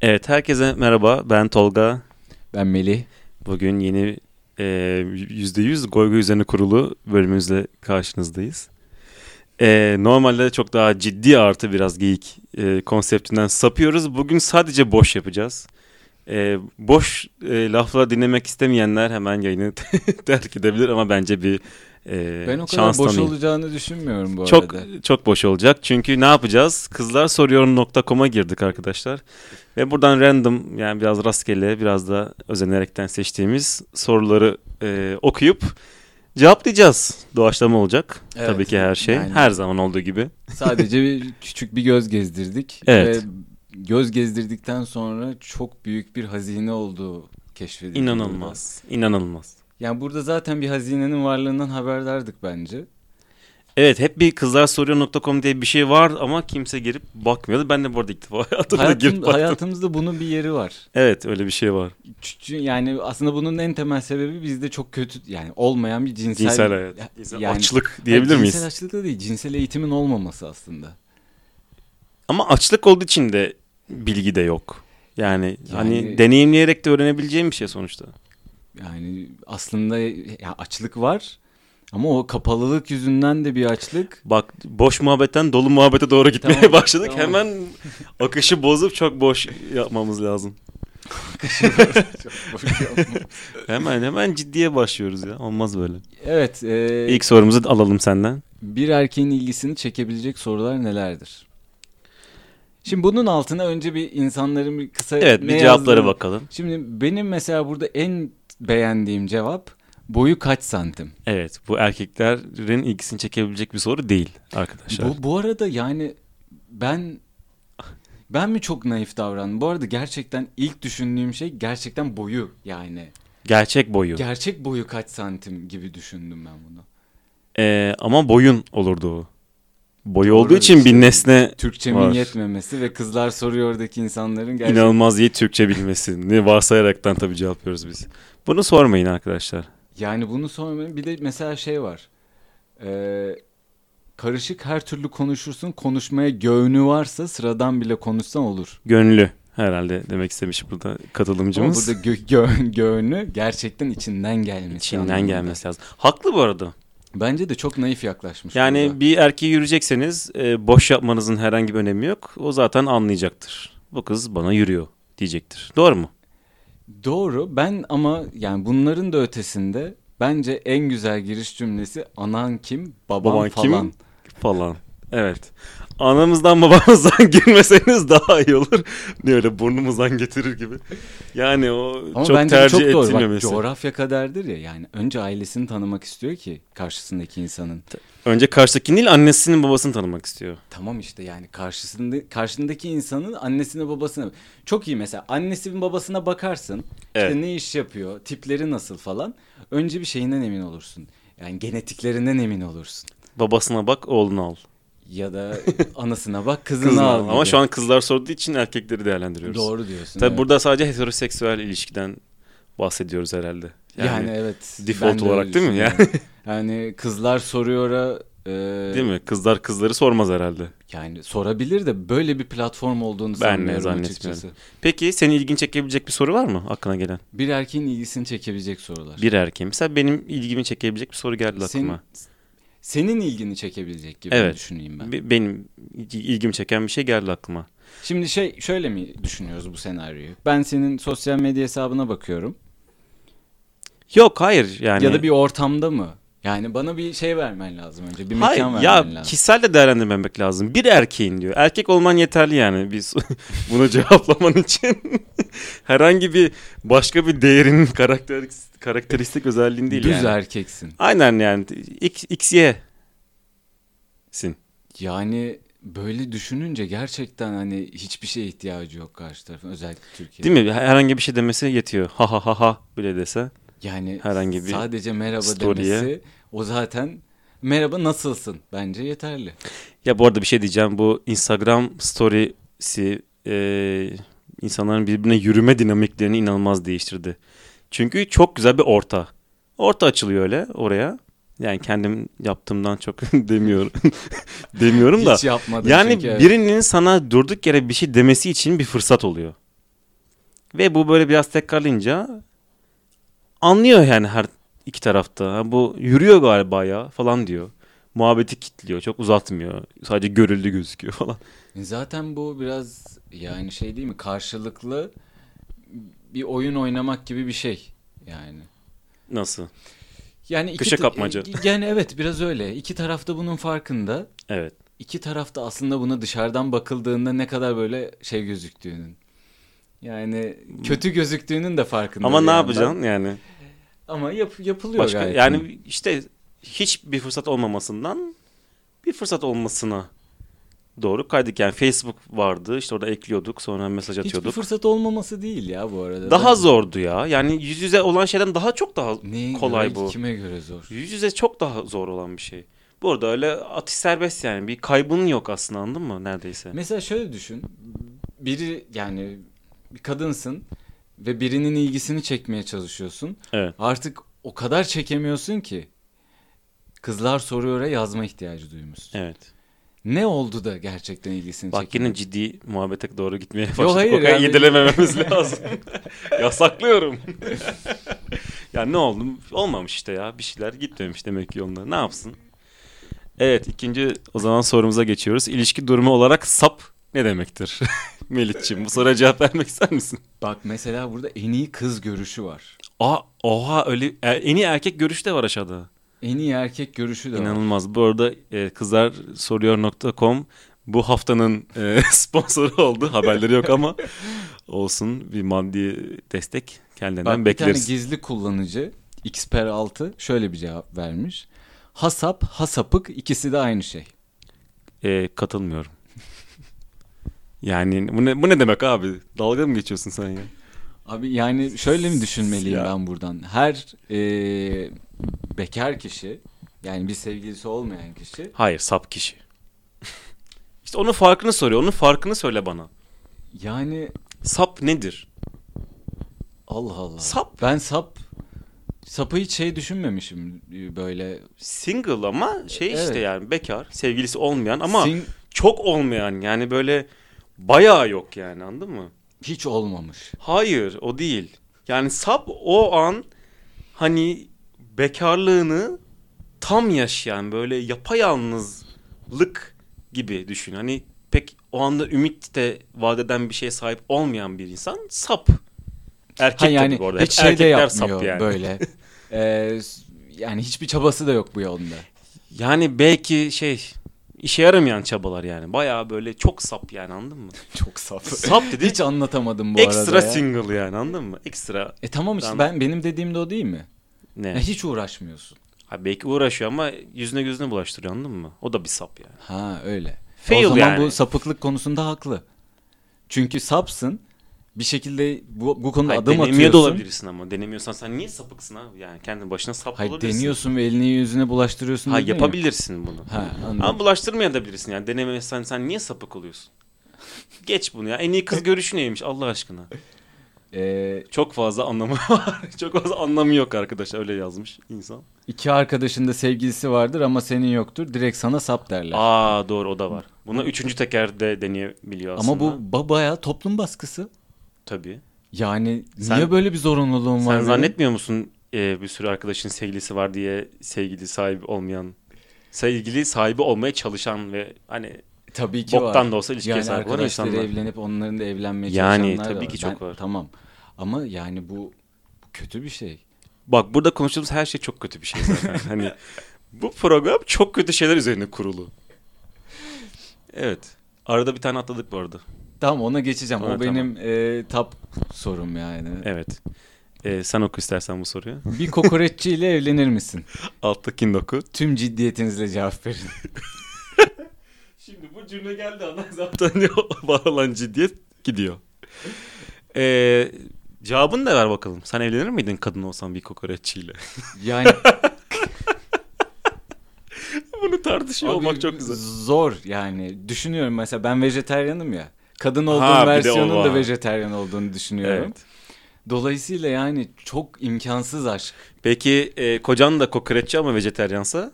Evet herkese merhaba ben Tolga. Ben Melih. Bugün yeni e, %100 Goygo üzerine kurulu bölümümüzle karşınızdayız. E, normalde çok daha ciddi artı biraz geyik e, konseptinden sapıyoruz. Bugün sadece boş yapacağız. E, boş e, laflar dinlemek istemeyenler hemen yayını terk edebilir ama bence bir e, Ben o kadar şans boş tanıyın. olacağını düşünmüyorum bu Çok arada. çok boş olacak. Çünkü ne yapacağız? Kızlarsoruyorum.com'a girdik arkadaşlar. Ve buradan random yani biraz rastgele biraz da özenerekten seçtiğimiz soruları e, okuyup cevaplayacağız. Doğaçlama olacak. Evet, Tabii ki her şey. yani. Her zaman olduğu gibi. Sadece bir, küçük bir göz gezdirdik. Evet. Ve göz gezdirdikten sonra çok büyük bir hazine olduğu keşfedildi. burada. İnanılmaz. İnanılmaz. Yani burada zaten bir hazinenin varlığından haberdardık bence. Evet hep bir kızlarsoruyor.com diye bir şey var ama kimse girip bakmıyordu. Ben de bu arada ilk defa hayatımda girip Hayatım, baktım. hayatımızda bunun bir yeri var. Evet öyle bir şey var. Çünkü Yani aslında bunun en temel sebebi bizde çok kötü yani olmayan bir cinsel... Cinsel hayat. Ya- Cinsel yani- açlık diyebilir miyiz? Cinsel açlık da değil cinsel eğitimin olmaması aslında. Ama açlık olduğu için de bilgi de yok. Yani, hani Yani- deneyimleyerek de öğrenebileceğim bir şey sonuçta. Yani aslında ya açlık var ama o kapalılık yüzünden de bir açlık. Bak boş muhabbetten dolu muhabbete doğru gitmeye Tamam, başladık. tamam. Hemen akışı bozup çok boş yapmamız lazım. Hemen hemen ciddiye başlıyoruz ya. Olmaz böyle. evet, e, İlk sorumuzu da alalım senden. bir erkeğin ilgisini çekebilecek sorular nelerdir? Şimdi bunun altına önce bir insanların bir kısa Evet ne bir cevaplara yazdığını- bakalım. Şimdi benim mesela burada en beğendiğim cevap boyu kaç santim? Evet bu erkeklerin ilgisini çekebilecek bir soru değil arkadaşlar. Bu, bu arada yani ben ben mi çok naif davrandım? Bu arada gerçekten ilk düşündüğüm şey gerçekten boyu yani. Gerçek boyu. Gerçek boyu kaç santim gibi düşündüm ben bunu. Ee, ama boyun olurdu o. Boyu olduğu Doğru, için bir işte nesne Türkçemin Var. yetmemesi ve kızlar soruyordaki insanların gerçek... İnanılmaz iyi Türkçe bilmesini varsayaraktan tabii cevaplıyoruz biz. Bunu sormayın arkadaşlar. Yani bunu sormayın. Bir de mesela şey var. Ee, karışık her türlü konuşursun. Konuşmaya göğnü varsa sıradan bile konuşsan olur. Gönlü herhalde demek istemiş burada Ama katılımcımız. burada gö- gö- göğnü gerçekten içinden gelmesi. Çin'den anlamında. gelmesi lazım. Haklı bu arada. Bence de çok naif yaklaşmış. Yani burada. bir erkeği yürüyecekseniz e, boş yapmanızın herhangi bir önemi yok. O zaten anlayacaktır. Bu kız bana yürüyor diyecektir. Doğru mu? Doğru. Ben ama yani bunların da ötesinde bence en güzel giriş cümlesi anan kim, baban, Baban kim?" falan. Falan. Evet. Anamızdan babamızdan girmeseniz daha iyi olur. Ne öyle burnumuzdan getirir gibi. Yani o Ama çok bence bu tercih çok doğru. Bak, ettirmemesi. coğrafya kaderdir ya yani önce ailesini tanımak istiyor ki karşısındaki insanın. Önce karşıdakinin değil annesinin babasını tanımak istiyor. Tamam işte yani karşısında karşındaki insanın annesine babasına. Çok iyi mesela annesinin babasına bakarsın. Evet. İşte ne iş yapıyor, tipleri nasıl falan. Önce bir şeyinden emin olursun. Yani genetiklerinden emin olursun. Babasına bak oğlunu al. Ya da anasına bak, kızına, Kızını al. al. Ama gibi. şu an kızlar sorduğu için erkekleri değerlendiriyoruz. doğru diyorsun. Tabii evet. burada sadece heteroseksüel ilişkiden bahsediyoruz herhalde. Yani, Yani, evet. default ben de öyle olarak değil mi? Yani- düşünüyorum. yani kızlar soruyora e, değil mi? Kızlar kızları sormaz herhalde. Yani sorabilir de böyle bir platform olduğunu Ben de sanmıyorum zannetmiyorum. açıkçası. Peki seni ilgini çekebilecek bir soru var mı aklına gelen? Bir erkeğin ilgisini çekebilecek sorular. Bir erkeğin. Mesela benim ilgimi çekebilecek bir soru geldi Senin- aklıma. Senin ilgini çekebilecek gibi Evet. düşüneyim ben. Be- Benim ilgimi çeken bir şey geldi aklıma. Şimdi şey şöyle mi düşünüyoruz bu senaryoyu? Ben senin sosyal medya hesabına bakıyorum. Yok hayır yani. Ya da bir ortamda mı? Yani bana bir şey vermen lazım önce. Bir mekan Hayır vermen ya lazım. kişisel de değerlendirmemek lazım. Bir erkeğin diyor. Erkek olman yeterli yani biz bunu cevaplaman için. Herhangi bir başka bir değerin karakter karakteristik özelliğin değil Düz er- yani. erkeksin. Aynen yani X XY sin. Yani böyle düşününce gerçekten hani hiçbir şeye ihtiyacı yok karşı tarafın özellikle Türkiye'de. Değil mi? Herhangi bir şey demesi yetiyor. Ha ha ha ha bile dese. Yani Herhangi bir sadece merhaba story'e. demesi o zaten merhaba nasılsın bence yeterli. Ya bu arada bir şey diyeceğim. Bu Instagram storiesi e, insanların birbirine yürüme dinamiklerini inanılmaz değiştirdi. Çünkü çok güzel bir orta. Orta açılıyor öyle oraya. Yani kendim yaptığımdan çok demiyorum. demiyorum da. Hiç yapmadım Yani çünkü. evet. birinin sana durduk yere bir şey demesi için bir fırsat oluyor. Ve bu böyle biraz tekrarlayınca anlıyor yani her iki tarafta. Ha, bu yürüyor galiba ya falan diyor. Muhabbeti kitliyor. Çok uzatmıyor. Sadece görüldü gözüküyor falan. E Zaten bu biraz yani şey değil mi? Karşılıklı bir oyun oynamak gibi bir şey yani. Nasıl? Yani iki Köşe ta- e, kapmaca. Yani evet biraz öyle. İki tarafta bunun farkında. Evet. İki tarafta aslında buna dışarıdan bakıldığında ne kadar böyle şey gözüktüğünün. Yani kötü gözüktüğünün de farkında. Hmm. Ama bir ne yandan. yapacaksın yani? Ama yap- yapılıyor Başka gayet. iyi. yani işte hiçbir fırsat olmamasından bir fırsat olmasına doğru kaydık. Yani Facebook vardı. işte orada ekliyorduk. Sonra mesaj hiçbir atıyorduk. fırsat olmaması değil ya bu arada. Daha zordu ya. Yani yüz yüze olan şeyden daha çok daha Neye kolay göre, bu. Kime göre zor? Yüz yüze çok daha zor olan bir şey. Bu arada öyle atış serbest yani. Bir kaybın yok aslında anladın mı neredeyse? Mesela şöyle düşün. Biri yani bir kadınsın ve birinin ilgisini çekmeye çalışıyorsun. Evet. Artık o kadar çekemiyorsun ki kızlar soruyor'a yazma ihtiyacı duymuşsun. Evet. Ne oldu da gerçekten ilgisini Bak çekti? yine ciddi muhabbete doğru gitmeye başladık. hayır o kadar yani- yedilemememiz lazım. Yasaklıyorum. ya ne oldu? Olmamış işte ya. Bir şeyler gitmemiş demek ki yolunda. Ne yapsın? Evet ikinci o zaman sorumuza geçiyoruz. İlişki durumu olarak sap ne demektir? Melih'ciğim bu soruya cevap vermek ister misin? Bak mesela burada en iyi kız görüşü var. Aa, oha öyle e, en iyi erkek görüşü de var aşağıda. En iyi erkek görüşü de var. İnanılmaz. Bu arada e, kızlar soruyor.com bu haftanın e, sponsoru oldu. Haberleri yok ama olsun bir maddi destek kendilerinden Bak bir bekleriz. tane gizli kullanıcı Xper 6 şöyle bir cevap vermiş. Hasap, hasapık ikisi de aynı şey. E, katılmıyorum. yani bu ne, bu ne demek abi? Dalga mı geçiyorsun sen ya? Abi yani şöyle mi düşünmeliyim Ya. ben buradan? Her e, bekar kişi yani bir sevgilisi olmayan kişi Hayır sap kişi. işte onun farkını soruyor. Onun farkını söyle bana. yani Sap nedir? Allah Allah. Sap. Ben sap sapı hiç şey düşünmemişim e, böyle Single ama şey Evet. işte yani bekar, sevgilisi olmayan ama Sing- çok olmayan yani böyle bayağı yok yani anladın mı? hiç olmamış. Hayır o değil. Yani sap o an hani bekarlığını tam yaşayan böyle yapayalnızlık gibi düşün. Hani pek o anda ümit de vadeden bir şeye sahip olmayan bir insan sap. Erkek Ha yani tabii bu arada. Hep hiç şey de erkekler yapmıyor sap yani. böyle. E, s- yani hiçbir çabası da yok bu yolda. Yani belki şey işe yaramayan çabalar yani. Bayağı böyle çok sap yani anladın mı? Çok sap. Sap dedi. Hiç anlatamadım bu arada. Ekstra ya. single yani anladın mı? Ekstra E tamam işte Ben- ben benim dediğim de o değil mi? ne? Ya hiç uğraşmıyorsun. Ha, belki uğraşıyor ama yüzüne gözüne bulaştırıyor anladın mı? O da bir sap yani. Ha öyle. Fail o zaman yani. bu sapıklık konusunda haklı. Çünkü sapsın. Bir şekilde bu, bu konuda Hayır, adım denemiyor atıyorsun. da olabilirsin ama. Denemiyorsan sen niye sapıksın abi? Yani kendi başına sap Hayır olabilirsin. deniyorsun ve elini yüzüne bulaştırıyorsun. Ha dedin ya. yapabilirsin bunu. Ha anladım. Ama bulaştırmayabilirsin yani. Denemesen sen niye sapık oluyorsun? Geç bunu ya. En iyi kız görüşü neymiş Allah aşkına. Ee, Çok fazla anlamı var. Çok fazla anlamı yok arkadaşlar. Öyle yazmış insan. iki arkadaşın da sevgilisi vardır ama senin yoktur. Direkt sana sap derler. Aa doğru o da var. Buna üçüncü tekerde deneyebiliyor aslında. ama bu ba- bayağı toplum baskısı. Tabii. Yani niye Sen- böyle bir zorunluluğun var? Sen benim? zannetmiyor musun e, bir sürü arkadaşın sevgilisi var diye sevgili sahibi olmayan sevgili sahibi olmaya çalışan ve hani Tabii ki var. boktan da olsa ilişkiye Yani sahip olan arkadaşları insanlar. evlenip onların da evlenmeye Yani çalışanlar da tabii var. ki çok Ben- var. Tamam ama yani bu, bu kötü bir şey. Bak burada konuştuğumuz her şey çok kötü bir şey zaten. hani bu program çok kötü şeyler üzerine kurulu. Evet. Arada bir tane atladık bu arada. Tamam ona geçeceğim. Ha, o benim e, tap sorum yani. Evet. E, sen oku istersen bu soruyu. Bir kokoreççiyle evlenir misin? Alttakini de oku. Tüm ciddiyetinizle cevap verin. Şimdi bu cümle geldi andan zaten var olan ciddiyet gidiyor. Ee, cevabını da ver bakalım. Sen evlenir miydin kadın olsan bir kokoreççiyle? Yani Bunu tartışıyor abi, olmak çok güzel. Zor yani. Düşünüyorum mesela ben vejeteryanım ya. Kadın olduğum Ha, bir de o versiyonun da var. vejeteryan olduğunu düşünüyorum. Dolayısıyla yani çok imkansız aşk. Peki e, kocan da kokoreççi ama vejeteryansa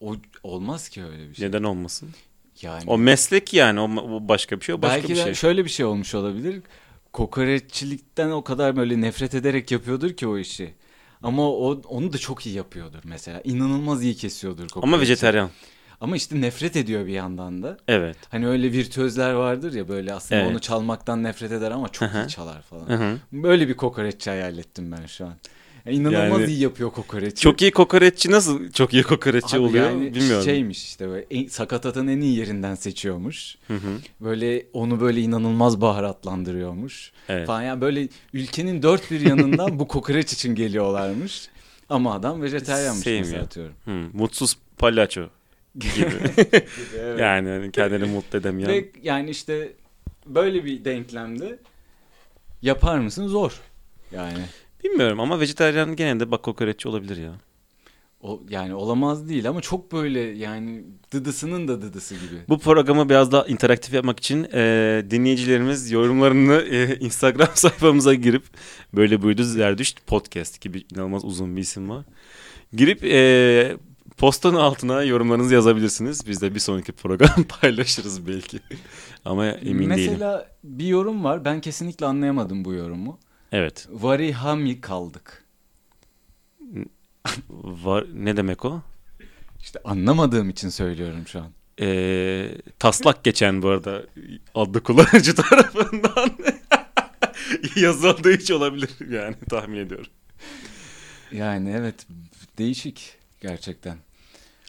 O olmaz ki öyle bir şey. neden olmasın? meslek yani. O meslek yani o o başka bir şey o başka Belki bir de şey. şöyle bir şey olmuş olabilir. Kokoreççilikten o kadar böyle nefret ederek yapıyordur ki o işi. Ama o onu da çok iyi yapıyordur mesela. İnanılmaz iyi kesiyordur kokoreçi. Ama vejetaryen. Ama işte nefret ediyor bir yandan da. Evet. Hani öyle virtüözler vardır ya böyle aslında Evet. onu çalmaktan nefret eder ama çok Hı hı. iyi çalar falan. Hı hı. Böyle bir kokoreççi hayal ettim ben şu an. Yani inanılmaz Yani- iyi yapıyor kokoreçi. Çok iyi kokoreççi nasıl çok iyi kokoreççi Abi oluyor yani şey- bilmiyorum. Şeymiş işte böyle en, sakatatın en iyi yerinden seçiyormuş. Hı hı. Böyle onu böyle inanılmaz baharatlandırıyormuş. Evet. Falan yani böyle ülkenin dört bir yanından bu kokoreç için geliyorlarmış. Ama adam vejetaryenmiş Sevmiyor. mesela atıyorum. Hı, Mutsuz palyaço gibi. Yani hani kendini mutlu edemeyen. Ve yani işte böyle bir denklemde yapar mısın? Zor. Yani Bilmiyorum ama vejetaryen genelde bak kokoreççi olabilir ya. o yani olamaz değil ama çok böyle yani dıdısının da dıdısı gibi. Bu programı biraz daha interaktif yapmak için e, dinleyicilerimiz yorumlarını e, Instagram sayfamıza girip böyle buydu Zerdüşt Podcast gibi inanılmaz uzun bir isim var. Girip e, postanın altına yorumlarınızı yazabilirsiniz. Biz de bir sonraki program paylaşırız belki. Ama emin değilim. Mesela bir yorum var. Ben kesinlikle anlayamadım bu yorumu. Evet. Varihami kaldık. Var, ne demek o? İşte anlamadığım için söylüyorum şu an. E, taslak geçen bu arada adlı kullanıcı tarafından yazıldığı hiç olabilir yani tahmin ediyorum. Yani evet değişik gerçekten.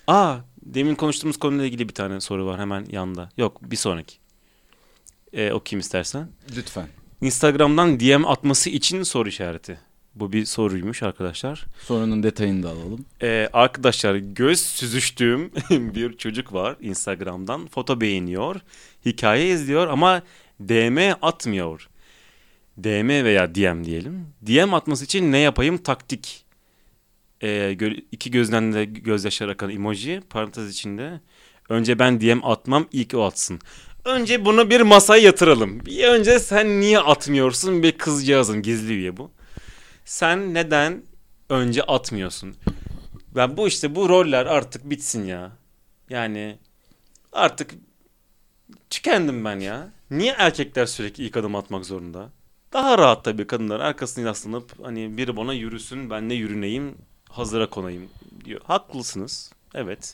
Aa, demin konuştuğumuz konuyla ilgili bir tane soru var hemen yanda. Yok, bir sonraki. Ee, okuyayım istersen. Lütfen. Instagram'dan DM atması için soru işareti. Bu bir soruymuş arkadaşlar. Sorunun detayını da alalım. Ee, arkadaşlar göz süzüştüğüm bir çocuk var Instagram'dan. Foto beğeniyor, hikaye izliyor ama DM atmıyor. DM veya DM diyelim. DM atması için ne yapayım taktik. Ee, gö- iki gözden de gözyaşları akan emoji parantez içinde. Önce ben DM atmam ilk o atsın. Önce bunu bir masaya yatıralım. Bir önce sen niye atmıyorsun bir kızcağızın gizli üye bu. Sen neden önce atmıyorsun? Ben bu işte bu roller artık bitsin ya. Yani artık tükendim ben ya. Niye erkekler sürekli ilk adım atmak zorunda? Daha rahat tabii kadınlar arkasını yaslanıp hani biri bana yürüsün ben de yürüneyim hazıra konayım diyor. Haklısınız. Evet.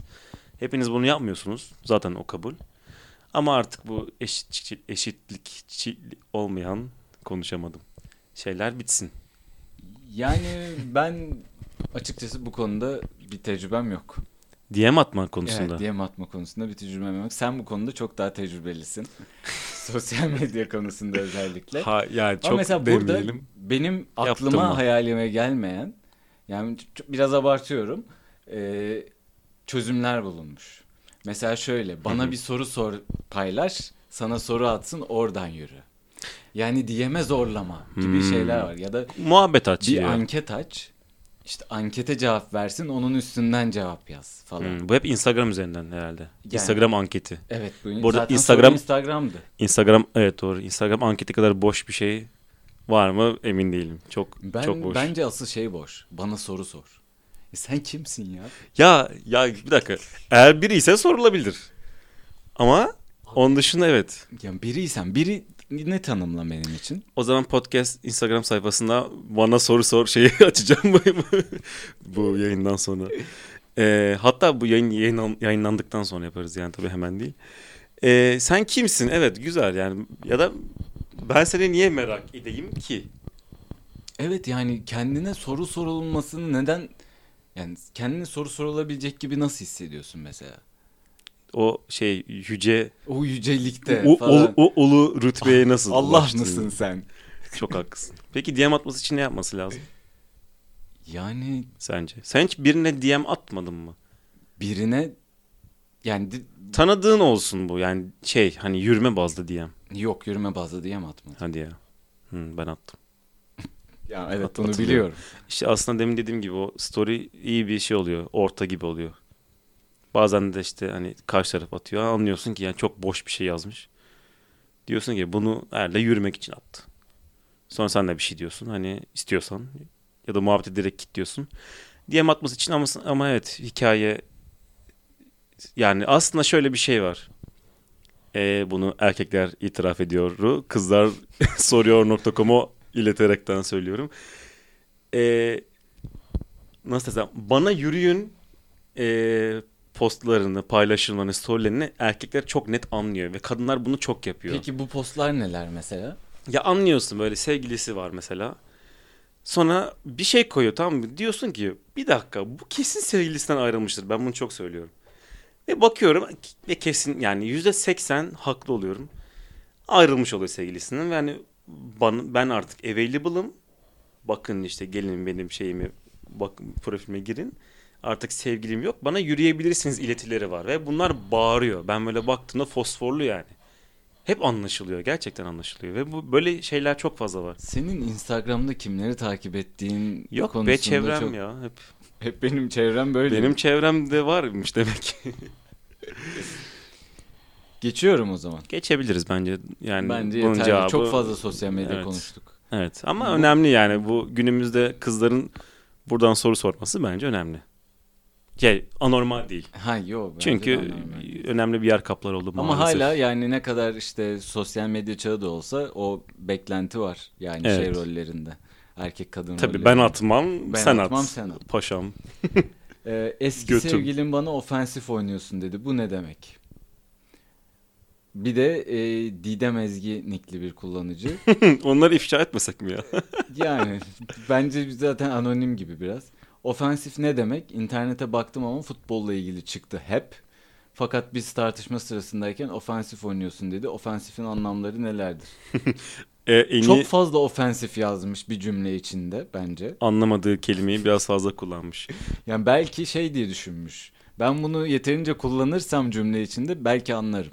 Hepiniz bunu yapmıyorsunuz. Zaten o kabul. Ama artık bu eşit, eşitlikçi olmayan konuşamadım. Şeyler bitsin. Yani ben açıkçası bu konuda bir tecrübem yok. DM atma konusunda. Evet DM atma konusunda bir tecrübem yok. Sen bu konuda çok daha tecrübelisin. Sosyal medya konusunda özellikle. Ha, yani Ama çok mesela burada demeyelim. benim Yaptın aklıma mı? hayalime gelmeyen yani ç- ç- biraz abartıyorum ee, çözümler bulunmuş. Mesela şöyle bana bir soru sor paylaş sana soru atsın oradan yürü. Yani diyeme zorlama gibi Hmm. şeyler var ya da Muhabbet bir açıyor. anket aç işte ankete cevap versin onun üstünden cevap yaz falan. Hmm, bu hep Instagram üzerinden herhalde. Instagram anketi. Evet bu, Bu arada zaten Instagram- soru Instagram'dı. Instagram evet doğru. Instagram anketi kadar boş bir şey var mı emin değilim. Çok Ben, çok boş. Bence asıl şey boş bana soru sor. E sen kimsin ya? Ya ya bir dakika. Eğer biri ise sorulabilir. Ama onun dışında evet. Ya biriysen biri ne tanımla benim için? O zaman podcast Instagram sayfasında bana soru sor şeyi açacağım bu, bu yayından sonra. Ee, hatta bu yayın yayınlan- yayınlandıktan sonra yaparız yani tabii hemen değil. Ee, sen kimsin? Evet güzel yani ya da ben seni niye merak edeyim ki? Evet yani kendine soru sorulmasını neden yani kendine soru sorulabilecek gibi nasıl hissediyorsun mesela? O şey yüce O yücelikte o, falan. Ah, o, o ulu rütbeye nasıl Allah ulaştın? mısın sen? Çok haklısın. Peki DM atması için ne yapması lazım Yani sence? Sen hiç birine DM atmadın mı? birine yani di- Tanıdığın olsun bu yani şey hani yürüme bazlı DM. yok yürüme bazlı diyem atmadım. Hadi ya. Hı, ben attım. Ya evet At- onu atılıyor. biliyorum. İşte aslında demin dediğim gibi o story iyi bir şey oluyor. Orta gibi oluyor. Bazen de işte hani karşı taraf atıyor. Anlıyorsun ki yani çok boş bir şey yazmış. Diyorsun ki bunu Erle yürümek için attı. Sonra sen de bir şey diyorsun. Hani istiyorsan ya da muhabbet ederek kilitliyorsun. DM atması için ama, ama evet hikaye yani aslında şöyle bir şey var. E, bunu erkekler itiraf ediyor. Kızlar soruyor.com'u ileterekten söylüyorum. E, nasıl desem bana yürüyün e, postlarını, paylaşımlarını, storylerini erkekler çok net anlıyor ve kadınlar bunu çok yapıyor. Peki bu postlar neler mesela? Ya anlıyorsun böyle sevgilisi var mesela. Sonra bir şey koyuyor tamam mı? Diyorsun ki bir dakika bu kesin sevgilisinden ayrılmıştır. Ben bunu çok söylüyorum. Ve bakıyorum ve kesin yani yüzde seksen haklı oluyorum. Ayrılmış oluyor sevgilisinden. ve Yani ben, ben artık available'ım. Bakın işte gelin benim şeyimi bak profilime girin. Artık sevgilim yok. Bana yürüyebilirsiniz iletileri var. Ve bunlar bağırıyor. Ben böyle baktığımda fosforlu yani. Hep anlaşılıyor. Gerçekten anlaşılıyor. Ve bu böyle şeyler çok fazla var. Senin Instagram'da kimleri takip ettiğin Yok konusunda be çevrem çok... ya. Hep Hep benim çevrem böyle. benim çevremde varmış demek ki. Geçiyorum o zaman. Geçebiliriz bence. Yani Bence bunun yeterli. cevabı- Çok fazla sosyal medya Evet. konuştuk. Evet ama Bu- önemli yani bu günümüzde kızların buradan soru sorması bence önemli. Şey anormal değil. Ha yok. Çünkü önemli bir yer kaplar oldu Ama maalesef. hala yani ne kadar işte sosyal medya çağı da olsa o beklenti var yani şey Evet. rollerinde. rollerinde. Erkek kadın Tabii ben atmam, Ben sen atmam, at. sen at. Paşam. Ee, eski Götüm. sevgilim bana ofensif oynuyorsun dedi. Bu ne demek? Bir de e, Didem Ezgi nickli bir kullanıcı. Onları ifşa etmesek mi ya? yani bence zaten anonim gibi biraz. Ofensif ne demek? İnternete baktım ama futbolla ilgili çıktı hep. Fakat biz tartışma sırasındayken ofensif oynuyorsun dedi. Ofensifin anlamları nelerdir? Ee, en iyi Çok fazla ofensif yazmış bir cümle içinde bence. anlamadığı kelimeyi biraz fazla kullanmış. Yani belki şey diye düşünmüş. Ben bunu yeterince kullanırsam cümle içinde belki anlarım.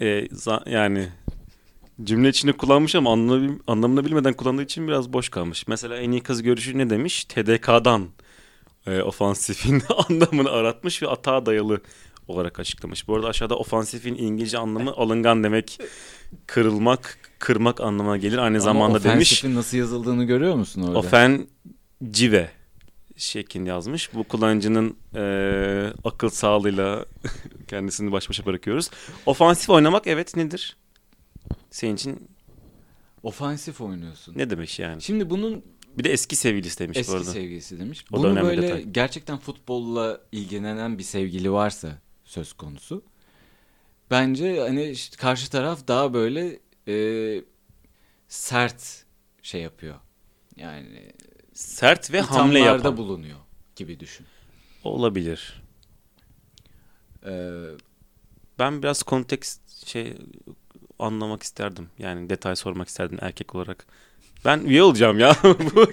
Ee, za- yani cümle içinde kullanmış ama anlamı, anlamını bilmeden kullandığı için biraz boş kalmış. Mesela en iyi kız görüşü ne demiş? TDK'dan e, ofansifin anlamını aratmış ve atağa dayalı olarak açıklamış. Bu arada aşağıda ofansifin İngilizce anlamı alıngan demek, kırılmak, kırmak anlamına gelir. Aynı Ama zamanda demiş ofensifin nasıl yazıldığını görüyor musun orada? ofen cive şeklinde yazmış. Bu kullanıcının e, akıl sağlığıyla kendisini baş başa bırakıyoruz. Ofansif oynamak evet nedir? Senin için Ofensif oynuyorsun. ne demek yani? Şimdi bunun Bir de eski sevgilisi demiş bu eski arada. sevgilisi demiş. O da Bunu önemli böyle detay. gerçekten futbolla ilgilenen bir sevgili varsa söz konusu. Bence hani işte karşı taraf daha böyle e, sert şey yapıyor. Yani Sert ve hamle ithamlarda yapan. bulunuyor gibi düşün. Olabilir. Ee, Ben biraz kontekst şey anlamak isterdim. Yani detay sormak isterdim erkek olarak. Ben üye olacağım ya. Bu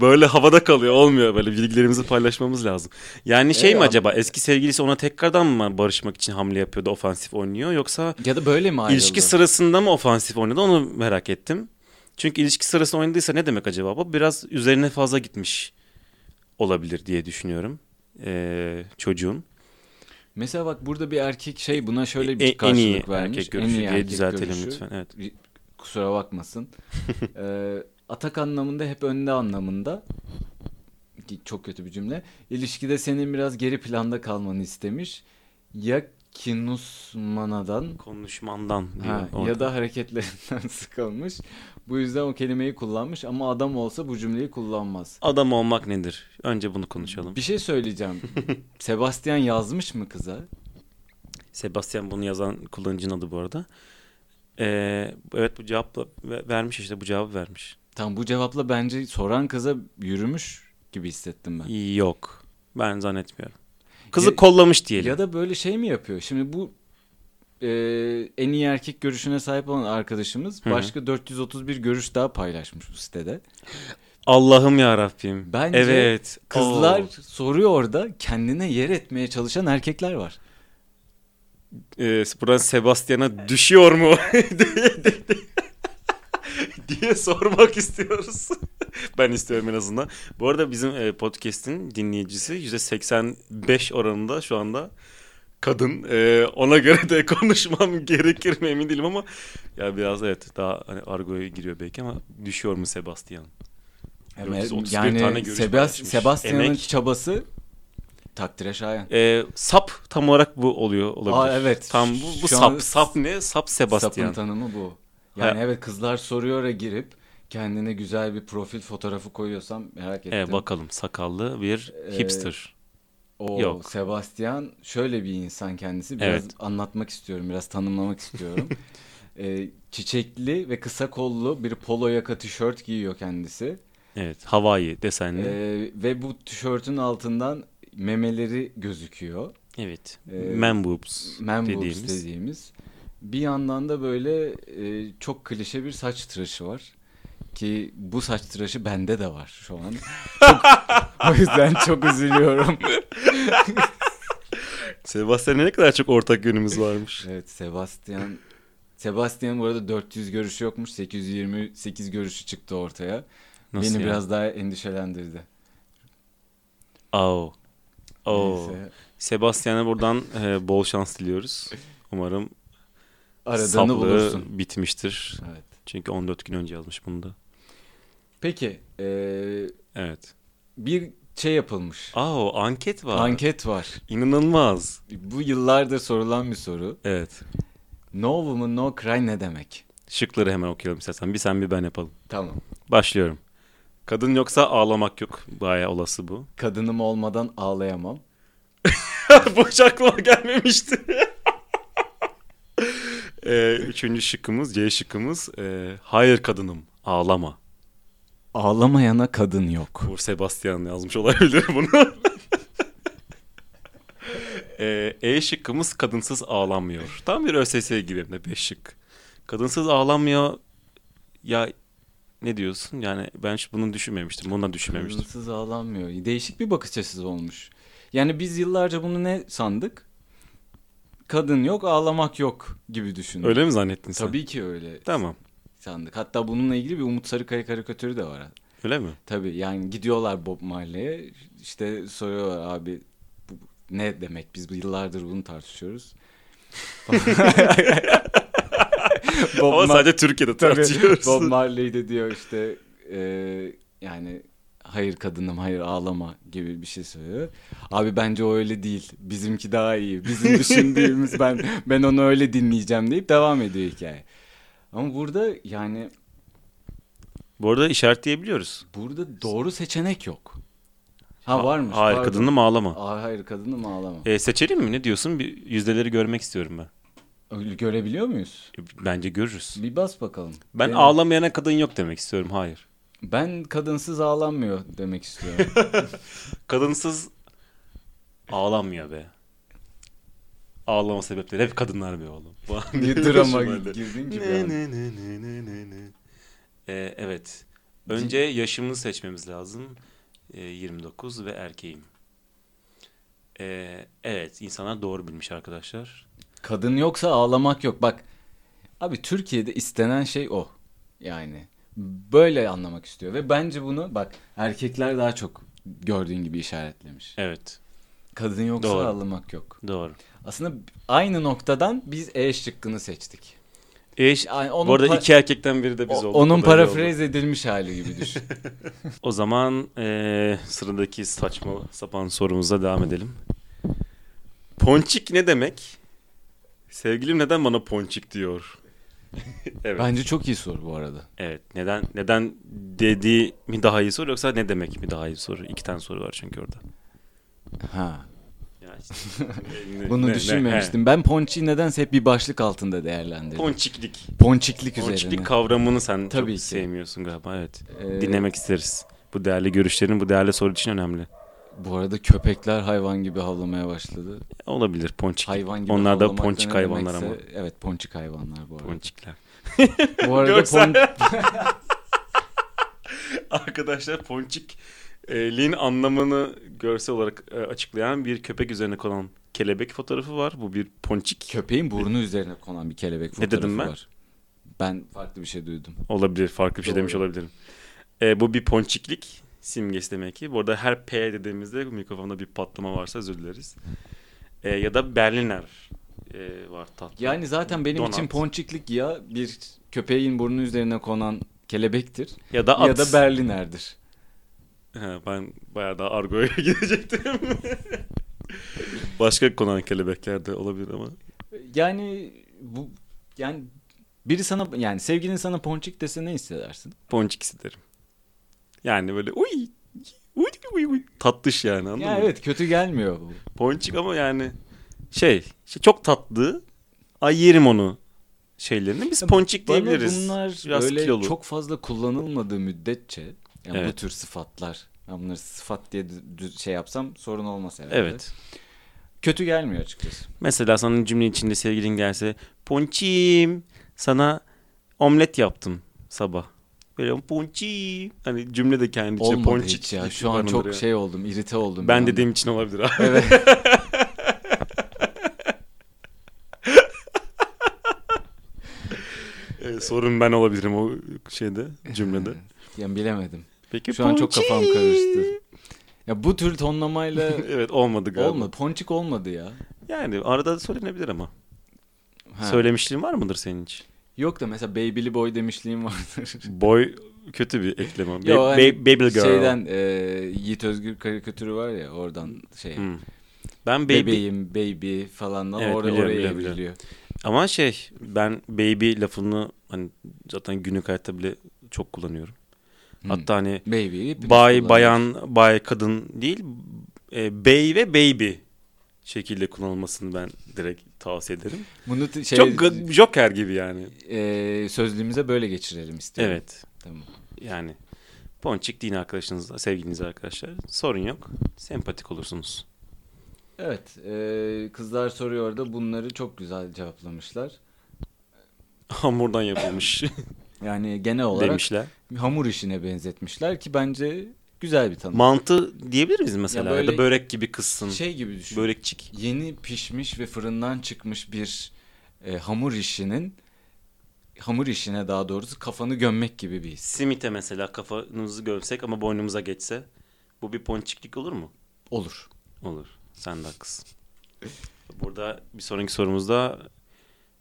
böyle havada kalıyor. Olmuyor böyle bilgilerimizi paylaşmamız lazım. Yani şey Ee, mi abi- acaba eski sevgilisi ona tekrardan mı barışmak için hamle yapıyordu ofansif oynuyor yoksa ya da böyle mi ayrıldı? ilişki sırasında mı ofansif oynadı onu merak ettim. Çünkü ilişki sırasında oynadıysa ne demek acaba bu? Biraz üzerine fazla gitmiş olabilir diye düşünüyorum ee, çocuğun. Mesela bak burada bir erkek şey buna şöyle bir E, En- en karşılık iyi vermiş. erkek görüşü diye erkek düzeltelim görüşü. lütfen. Evet. Kusura bakmasın. Ee, atak anlamında hep önde anlamında. Ki Çok kötü bir cümle. İlişkide senin biraz geri planda kalmanı istemiş. Ya kinusmanadan Konuşmandan diyor ha, orada. ya da hareketlerinden sıkılmış. Bu yüzden o kelimeyi kullanmış ama adam olsa bu cümleyi kullanmaz. Adam olmak nedir? Önce bunu konuşalım. Bir şey söyleyeceğim. Sebastian yazmış mı kıza? Sebastian bunu yazan kullanıcının adı bu arada. Ee, evet bu cevapla ve- vermiş işte bu cevabı vermiş. Tam bu cevapla bence soran kıza yürümüş gibi hissettim ben. Yok. Ben zannetmiyorum. Kızı Ya- kollamış diyelim. Ya da böyle şey mi yapıyor? Şimdi bu e, en iyi erkek görüşüne sahip olan arkadaşımız Hı hı. başka 431 görüş daha paylaşmış bu sitede. Allah'ım ya Rabbim. Bence evet. Kızlar Oo. soruyor orada kendine yer etmeye çalışan erkekler var. Ee, buradan Sebastian'a düşüyor mu? diye, diye- diye sormak istiyoruz. ben istiyorum en azından. Bu arada bizim e, podcast'in dinleyicisi %85 oranında şu anda kadın. E, ona göre de konuşmam gerekir mi emin değilim ama ya biraz evet daha hani argoya giriyor belki ama düşüyor mu Sebastian? 431 yani tane görüş Sebas- paylaşmış. Sebastian'ın Emek. çabası Takdire şayan. Ee, sap tam olarak bu oluyor olabilir. Aa, evet. Tam bu, bu Şu sap. an- Sap ne? Sap Sapın Sebastian. tanımı bu. Yani Ha. evet kızlar soruyor'a girip kendine güzel bir profil fotoğrafı koyuyorsam merak ettim. Ee, bakalım sakallı bir Ee, hipster. O Yok. Sebastian şöyle bir insan kendisi. Biraz Evet. anlatmak istiyorum, biraz tanımlamak istiyorum. Ee, çiçekli ve kısa kollu bir polo yaka tişört giyiyor kendisi. Evet. Hawaii desenli. Ee, ve bu tişörtün altından memeleri gözüküyor. evet. e, man boobs Man boobs dediğimiz. dediğimiz. Bir yandan da böyle e, çok klişe bir saç tıraşı var. Ki bu saç tıraşı bende de var şu an. Çok, o yüzden çok üzülüyorum. Sebastian'la ne kadar çok ortak yönümüz varmış. Evet Sebastian Sebastian bu arada 400 görüşü yokmuş. 828 görüşü çıktı ortaya. Nasıl Beni ya? biraz daha endişelendirdi. Au. Oo. Neyse, Sebastian'a buradan e, bol şans diliyoruz. Umarım aradığını saplığı bulursun. bitmiştir. Evet. Çünkü 14 gün önce yazmış bunu da. Peki e, Evet. bir şey yapılmış. Aa anket var. Anket var. İnanılmaz. Bu yıllardır sorulan bir soru. Evet. No woman no cry ne demek? Şıkları hemen okuyalım istersen. Bir sen bir ben yapalım. Tamam. Başlıyorum. Kadın yoksa ağlamak yok. Baya olası bu. Kadınım olmadan ağlayamam. Boş aklıma gelmemişti. Ee, üçüncü şıkkımız, C şıkkımız. ee, hayır kadınım, ağlama. Ağlamayana kadın yok. Uğur Sebastian yazmış olabilir bunu. Ee, e şıkkımız kadınsız ağlanmıyor. Tam bir ÖSS gibi de 5 şık. Kadınsız ağlanmıyor. Ya ne diyorsun? Yani ben şu- bunu düşünmemiştim. Bundan düşünmemiştim. Kadınsız ağlanmıyor. Değişik bir bakış açısı olmuş. Yani biz yıllarca bunu ne sandık? Kadın yok, ağlamak yok gibi düşündük. Öyle mi zannettin sen? Tabii ki öyle Tamam. sandık. Hatta bununla ilgili bir Umut Sarıkaya karikatürü de var. Öyle mi? Tabii yani gidiyorlar Bob Marley'e işte soruyorlar abi bu ne demek biz bu yıllardır bunu tartışıyoruz. Bob Ama Mar- sadece Türkiye'de Tabii, tartışıyoruz. Bob Marley de diyor işte e, yani hayır kadınım hayır ağlama gibi bir şey söylüyor. Abi bence o öyle değil. Bizimki daha iyi. Bizim düşündüğümüz ben ben onu öyle dinleyeceğim deyip devam ediyor hikaye. Ama burada yani Bu arada işaretleyebiliyoruz. burada doğru seçenek yok. Ha varmış. Hayır pardon. kadınım ağlama. Aa, hayır kadınım ağlama. Ee, seçelim mi? Ne diyorsun? Bir yüzdeleri görmek istiyorum ben. Öyle görebiliyor muyuz? E, Bence görürüz. Bir bas bakalım. Ben Benim- ağlamayana kadın yok demek istiyorum. Hayır. Ben kadınsız ağlanmıyor demek istiyorum. Kadınsız ağlanmıyor be. Ağlama sebepleri hep kadınlar be oğlum. Niye drama girdin ki bir Ne, an? ne, ne, ne, ne, ne, ne. Ee, evet. Önce yaşımını seçmemiz lazım. Ee, 29 ve erkeğim. Ee, evet insanlar doğru bilmiş arkadaşlar. Kadın yoksa ağlamak yok. Bak abi Türkiye'de istenen şey o. Yani böyle anlamak istiyor ve bence bunu bak erkekler daha çok gördüğün gibi işaretlemiş. Evet Kadın yoksa Doğru. ağlamak yok. doğru. Aslında aynı noktadan biz E şıkkını seçtik. E, ş- Yani bu arada pa- iki erkekten biri de biz o- olduk. onun O da öyle oldu. parafrez edilmiş hali gibi düşün. O zaman eee, sıradaki saçma sapan sorumuza devam edelim. Ponçik ne demek? Sevgilim neden bana ponçik diyor? evet. Bence çok iyi soru bu arada. Evet. Neden neden dediği mi daha iyi soru yoksa ne demek mi daha iyi soru? İki tane soru var çünkü orada. Ha. Ya işte, ne- Bunu ne- ne- düşünmemiştim. Ben ponçiği nedense hep bir başlık altında değerlendirdim. he. Ponçiklik. Ponçiklik üzerine. Ponçiklik kavramını sen Tabii çok ki. sevmiyorsun galiba. Evet. Ee, Dinlemek isteriz. Bu değerli görüşlerin bu değerli soru için önemli. Ee, Bu arada köpekler hayvan gibi havlamaya başladı. Olabilir ponçik. Hayvan gibi Onlar da havlamak ponçik ne hayvanlar demekse- ama. Evet ponçik hayvanlar bu arada. Ponçikler. Bu arada Görsel. pon- Arkadaşlar ponçikliğin anlamını görsel olarak e, açıklayan bir köpek üzerine konan kelebek fotoğrafı var. Bu bir ponçik köpeğin burnu üzerine konan bir kelebek Ne fotoğrafı dedim ben? var. Ben farklı bir şey duydum. olabilir. Farklı bir şey Doğru. demiş olabilirim. E, bu bir ponçiklik simgesi demek ki. Bu arada her P dediğimizde mikrofonda bir patlama varsa özür dileriz. E, ya da Berliner e, var tatlı. Yani zaten benim için Donat. ponçiklik ya bir köpeğin burnu üzerine konan kelebektir ya da at. ya da Berliner'dir. He, ben bayağı daha argoya gidecektim. Başka konan kelebekler de olabilir ama. Yani bu yani biri sana yani sevgilin sana ponçik dese ne hissedersin? Ponçik isterim. Yani böyle uy, uy, uy, uy. tatlış yani anladın ya mı? evet kötü gelmiyor bu. Ponçik ama yani şey, şey çok tatlı. Ay yerim onu şeylerini. Biz ponçik Bana diyebiliriz. bunlar Biraz böyle kilolu. çok fazla kullanılmadığı müddetçe yani bu Evet. tür sıfatlar ben bunları sıfat diye dü- dü- şey yapsam sorun olmaz herhalde. Evet. Kötü gelmiyor açıkçası. Mesela sana cümle içinde sevgilin gelse ponçim sana omlet yaptım sabah. Böyle ponçim. Hani cümle de kendi içinde Olmadı ponçik. hiç ya. Şu an çok barındırıyor. şey oldum, irite oldum. Ben bir dediğim için olabilir abi. anda. Evet. Ee, sorun ben olabilirim o şeyde cümlede. Yani bilemedim. Peki Şu an çok ponçik. kafam karıştı. Ya bu tür tonlamayla evet olmadı galiba. olmadı. Ponçik olmadı ya. Yani arada da söylenebilir ama. Ha. Söylemişliğin var mıdır senin hiç? Yok da mesela Baby'li boy demişliğim vardır. Boy kötü bir ekleme. Ba- Yo, hani ba- baby girl. Şeyden e, Yiğit Özgür karikatürü var ya oradan şey. Hmm. Ben baby Bebeğim, baby falan da Evet, or- biliyorum, oraya biliyorum, evriliyor. ama şey ben baby lafını hani zaten günlük hayatta bile çok kullanıyorum. Hmm. Hatta hani Baby. hepimiz bay kullanıyoruz. bayan bay kadın değil e, bey ve baby şekilde kullanılmasını ben direkt tavsiye ederim. Bunu t- şey, Çok ga- Joker gibi yani. e, sözlüğümüze böyle geçirelim istiyorum. Evet. Tamam. Yani ponçik din arkadaşınızla, sevgiliniz arkadaşlar sorun yok. Sempatik olursunuz. Evet. e, kızlar soruyor da bunları çok güzel cevaplamışlar. Hamurdan yapılmış Yani genel olarak demişler. hamur işine benzetmişler ki bence güzel bir tanım. Mantı diyebilir miyiz mesela? Ya, böyle- da börek gibi kızsın. şey gibi düşün. Börekçik. Yeni pişmiş ve fırından çıkmış bir e, hamur işinin hamur işine daha doğrusu kafanı gömmek gibi bir his. Simite mesela kafanızı gömsek ama boynumuza geçse bu bir ponçiklik olur mu? Olur. Olur. Sen de haklısın. Burada bir sonraki sorumuzda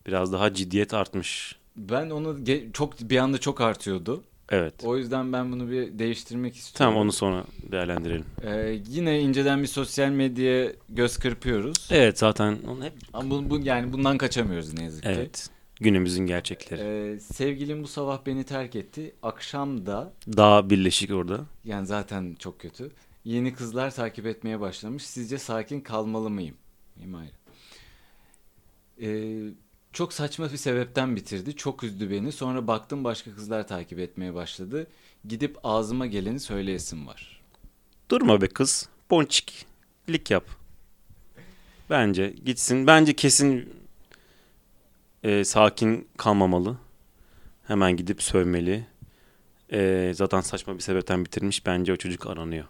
biraz daha ciddiyet artmış. Ben onu ge- çok bir anda çok artıyordu. Evet. O yüzden ben bunu bir değiştirmek istiyorum. Tamam onu sonra değerlendirelim. Ee, yine inceden bir sosyal medyaya göz kırpıyoruz. Evet zaten onu hep Ama bu, bu- yani bundan kaçamıyoruz ne yazık ki. evet günümüzün gerçekleri. Ee, sevgilim bu sabah beni terk etti. Akşam da Daha birleşik orada. yani zaten çok kötü. Yeni kızlar takip etmeye başlamış. Sizce sakin kalmalı mıyım? Miyim ayrı. Ee, çok saçma bir sebepten bitirdi. Çok üzdü beni. Sonra baktım başka kızlar takip etmeye başladı. Gidip ağzıma geleni söyleyesim var. Durma be kız. Ponçiklik yap. Bence gitsin. Bence kesin e, sakin kalmamalı. Hemen gidip sövmeli. E, zaten saçma bir sebepten bitirmiş. Bence o çocuk aranıyor.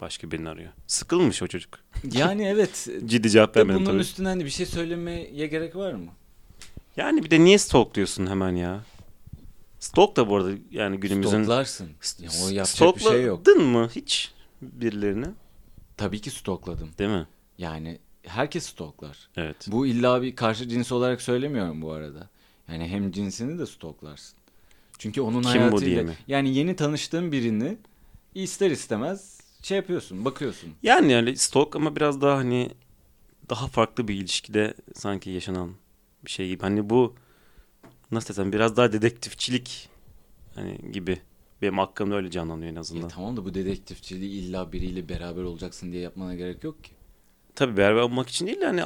Başka birini arıyor. Sıkılmış o çocuk. Yani evet. Ciddi cevap De vermedim bunun tabii. üstünden de bir şey söylemeye gerek var mı? Yani bir de niye stalkluyorsun hemen ya? Stalk da bu arada yani günümüzün... Stoklarsın. St- Ya o yapacak bir stalkladın şey yok. mı hiç birilerini? Tabii ki stokladım. Değil mi? Yani herkes stoklar. Evet. Bu illa bir karşı cins olarak söylemiyorum bu arada. Yani hem cinsini de stoklarsın. Çünkü onun Kim bu hayatıyla... diye mi? Yani yeni tanıştığın birini ister istemez şey yapıyorsun, bakıyorsun. Yani yani stalk ama biraz daha hani daha farklı bir ilişkide sanki yaşanan bir şey gibi. Hani bu nasıl desem biraz daha dedektifçilik hani gibi. Benim hakkımda öyle canlanıyor en Ya azından. tamam da bu dedektifçiliği illa biriyle beraber olacaksın diye yapmana gerek yok ki. Tabii beraber olmak için değil de hani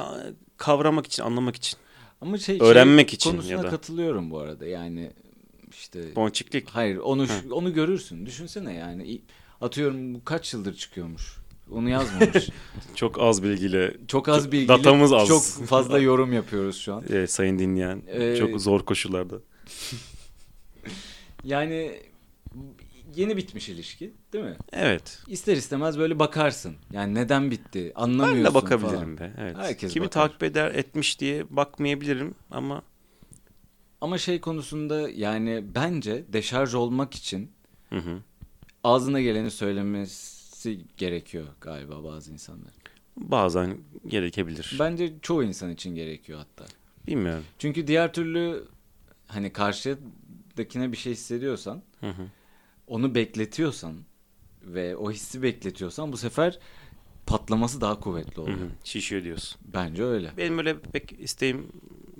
kavramak için, anlamak için. Ama şey, Öğrenmek şey için ya konusuna da. katılıyorum bu arada. Yani işte Ponçiklik. Hayır onu şu- onu görürsün. Düşünsene yani İ- atıyorum bu kaç yıldır çıkıyormuş. Onu yazmamış. Çok az bilgiyle çok az Çok- bilgili. datamız az. Çok fazla yorum yapıyoruz şu an. e, sayın dinleyen Ee, çok zor koşullarda. Yani yeni bitmiş ilişki değil mi? Evet. İster istemez böyle bakarsın. Yani neden bitti anlamıyorsun Ben de bakabilirim falan. be. Evet. Herkes Kimi bakar. takip eder etmiş diye bakmayabilirim ama Ama şey konusunda yani bence deşarj olmak için hı hı. ağzına geleni söylemesi gerekiyor galiba bazı insanlar. bazen gerekebilir. Bence çoğu insan için gerekiyor hatta. Bilmiyorum. Çünkü diğer türlü hani karşıdakine bir şey hissediyorsan, Hı hı. onu bekletiyorsan ve o hissi bekletiyorsan bu sefer patlaması daha kuvvetli Hı oluyor. hı. Şişiyor diyorsun. Bence öyle. Benim öyle pek isteğim,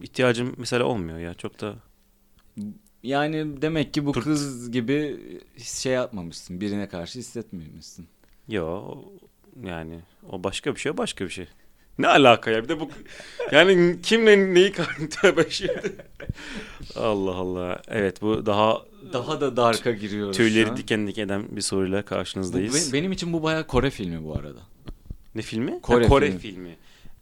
ihtiyacım mesela olmuyor ya. Çok da Yani demek ki bu Pırt. kız gibi şey yapmamışsın. Birine karşı hissetmemişsin. Yo o- yani o başka bir şey o başka bir şey. Ne alaka ya bir de bu yani kimle neyi tövbe şimdi. Allah Allah. Evet bu daha Daha da darka giriyoruz. şu tüyleri an. diken diken eden bir soruyla Bu karşınızdayız. be- benim için bu bayağı Kore filmi bu arada. Ne filmi? Ha, Kore Kore filmi. filmi.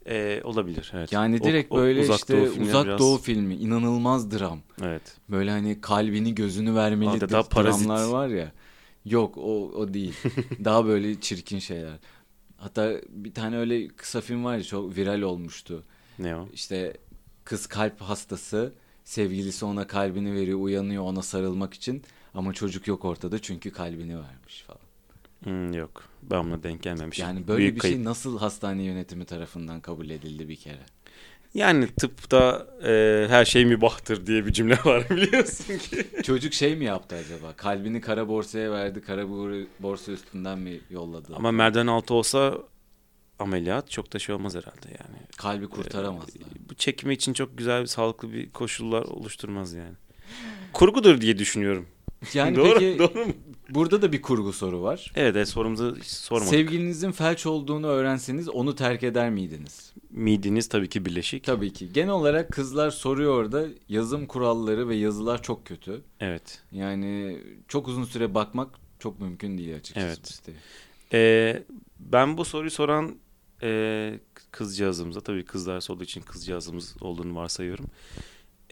Ee, olabilir evet. Yani O- direkt o böyle uzak işte doğu filmine uzak biraz- doğu filmi inanılmaz dram. Evet. Böyle hani kalbini gözünü vermeli Adeta dra- parazit. dramlar var ya. Yok o o değil. Daha böyle çirkin şeyler. Hatta bir tane öyle kısa film var ya çok viral olmuştu. Ne o? İşte kız kalp hastası, sevgilisi ona kalbini veriyor, uyanıyor ona sarılmak için ama çocuk yok ortada çünkü kalbini vermiş falan. Hmm, yok. Ben buna denk gelmemişim. Yani böyle Büyük bir kayıp. şey nasıl hastane yönetimi tarafından kabul edildi bir kere? Yani tıpta e, her şey mübahtır diye bir cümle var biliyorsun ki. Çocuk şey mi yaptı acaba? Kalbini kara borsaya verdi, kara bor- borsa üstünden mi yolladı? Ama merdiven altı olsa ameliyat çok da şey olmaz herhalde yani. E, Kalbi kurtaramazlar. Bu çekimi için çok güzel, sağlıklı bir koşullar oluşturmaz yani. Kurgudur diye düşünüyorum. Yani doğru, peki doğru mu? burada da bir kurgu soru var. Evet, evet sorumuzu hiç sormadık. Sevgilinizin felç olduğunu öğrenseniz onu terk eder miydiniz? Midiniz tabii ki birleşik. Tabii ki. Genel olarak kızlar soruyor da yazım kuralları ve yazılar çok kötü. Evet. Yani çok uzun süre bakmak çok mümkün değil açıkçası. Evet. bu siteye. Ee, ben bu soruyu soran e, kızcağızımıza, tabii kızlar olduğu için kızcağızımız olduğunu varsayıyorum.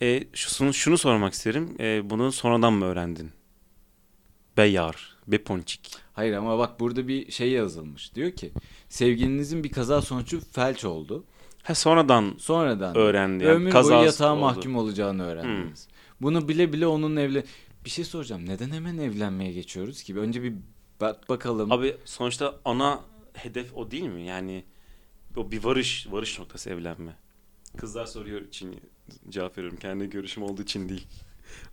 E, şunu, şunu sormak isterim. E, bunu sonradan mı öğrendin? Beyar, beponçik. Hayır ama bak burada bir şey yazılmış. Diyor ki sevgilinizin bir kaza sonucu felç oldu. Ha sonradan Sonradan öğrendi. Yani ömür kazası boyu yatağa oldu. Hmm. mahkum olacağını öğrendiniz. Bunu bile bile onun evlen... Bir şey soracağım. Neden hemen evlenmeye geçiyoruz ki? Önce bir bak bakalım. Abi sonuçta ana hedef o değil mi? Yani o bir varış, varış noktası evlenme. Kızlar soruyor için cevap veriyorum. Kendi görüşüm olduğu için değil.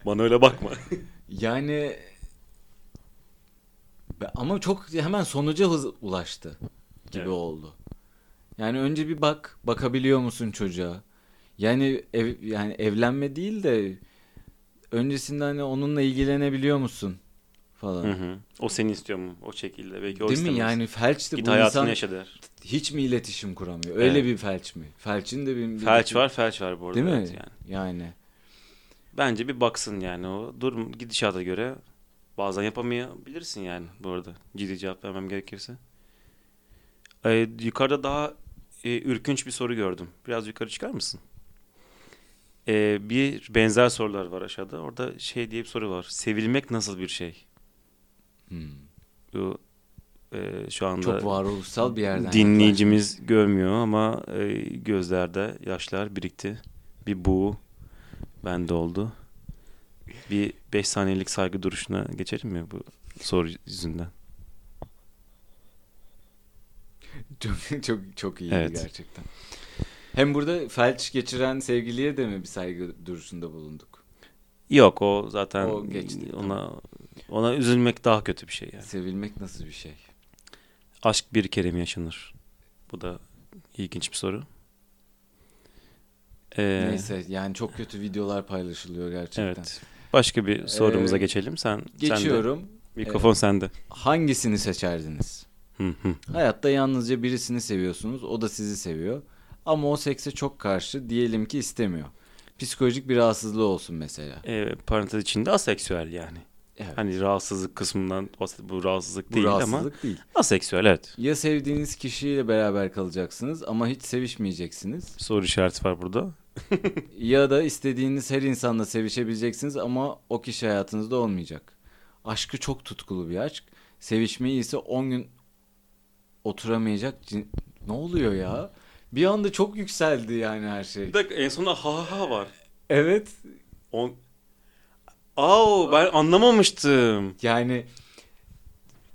Bana öyle bakma. Yani Be- ama çok hemen sonuca hız ulaştı gibi Evet. oldu. Yani önce bir bak, bakabiliyor musun çocuğa? Yani ev, yani evlenme değil de öncesinde hani onunla ilgilenebiliyor musun falan. Hı hı. O seni istiyor mu? O şekilde. Belki o Değil mi? istemez. Yani felçti Git bu hayatını insan yaşa der. hiç mi iletişim kuramıyor? Öyle Evet. bir felç mi? Felçin de bir, bir- Felç var felç var bu arada. Değil mi? evet Yani. yani. Bence bir baksın yani o durum gidişata göre bazen yapamayabilirsin yani bu arada ciddi cevap vermem gerekirse. Ee, yukarıda daha e, ürkünç bir soru gördüm. Biraz yukarı çıkar mısın? Ee, bir benzer sorular var aşağıda. Orada şey diye bir soru var. Sevilmek nasıl bir şey? Hmm. Bu e, şu anda Çok varoluşsal bir yerden. dinleyicimiz görmüyor ama e, gözlerde yaşlar birikti. Bir bu bende oldu. Bir 5 saniyelik saygı duruşuna geçelim mi bu soru yüzünden? Çok çok çok iyiydi Evet. gerçekten. Hem burada felç geçiren sevgiliye de mi bir saygı duruşunda bulunduk? Yok o zaten O geçti, ona ona üzülmek daha kötü bir şey yani. Sevilmek nasıl bir şey? Aşk bir kere mi yaşanır? Bu da ilginç bir soru. Ee, Neyse yani çok kötü videolar paylaşılıyor gerçekten. Evet. Başka bir sorumuza Ee, geçelim. Sen sende. Geçiyorum. Mikrofon sende. Hangisini seçerdiniz? Hı hı. Hayatta yalnızca birisini seviyorsunuz. O da sizi seviyor. Ama o sekse çok karşı. Diyelim ki istemiyor. Psikolojik bir rahatsızlığı olsun mesela. Ee, parantez içinde aseksüel yani. Evet. Hani rahatsızlık kısmından bahset- bu rahatsızlık Bu değil ama rahatsızlık değil. aseksüel evet. Ya sevdiğiniz kişiyle beraber kalacaksınız ama hiç sevişmeyeceksiniz. Soru işareti var burada. Ya da istediğiniz her insanla sevişebileceksiniz ama o kişi hayatınızda olmayacak. Aşkı çok tutkulu bir aşk. Sevişmeyi ise 10 gün oturamayacak. cin- Ne oluyor ya? Bir anda çok yükseldi yani her şey. dakika en sonunda ha ha ha var. Evet. On... Au ben anlamamıştım. Yani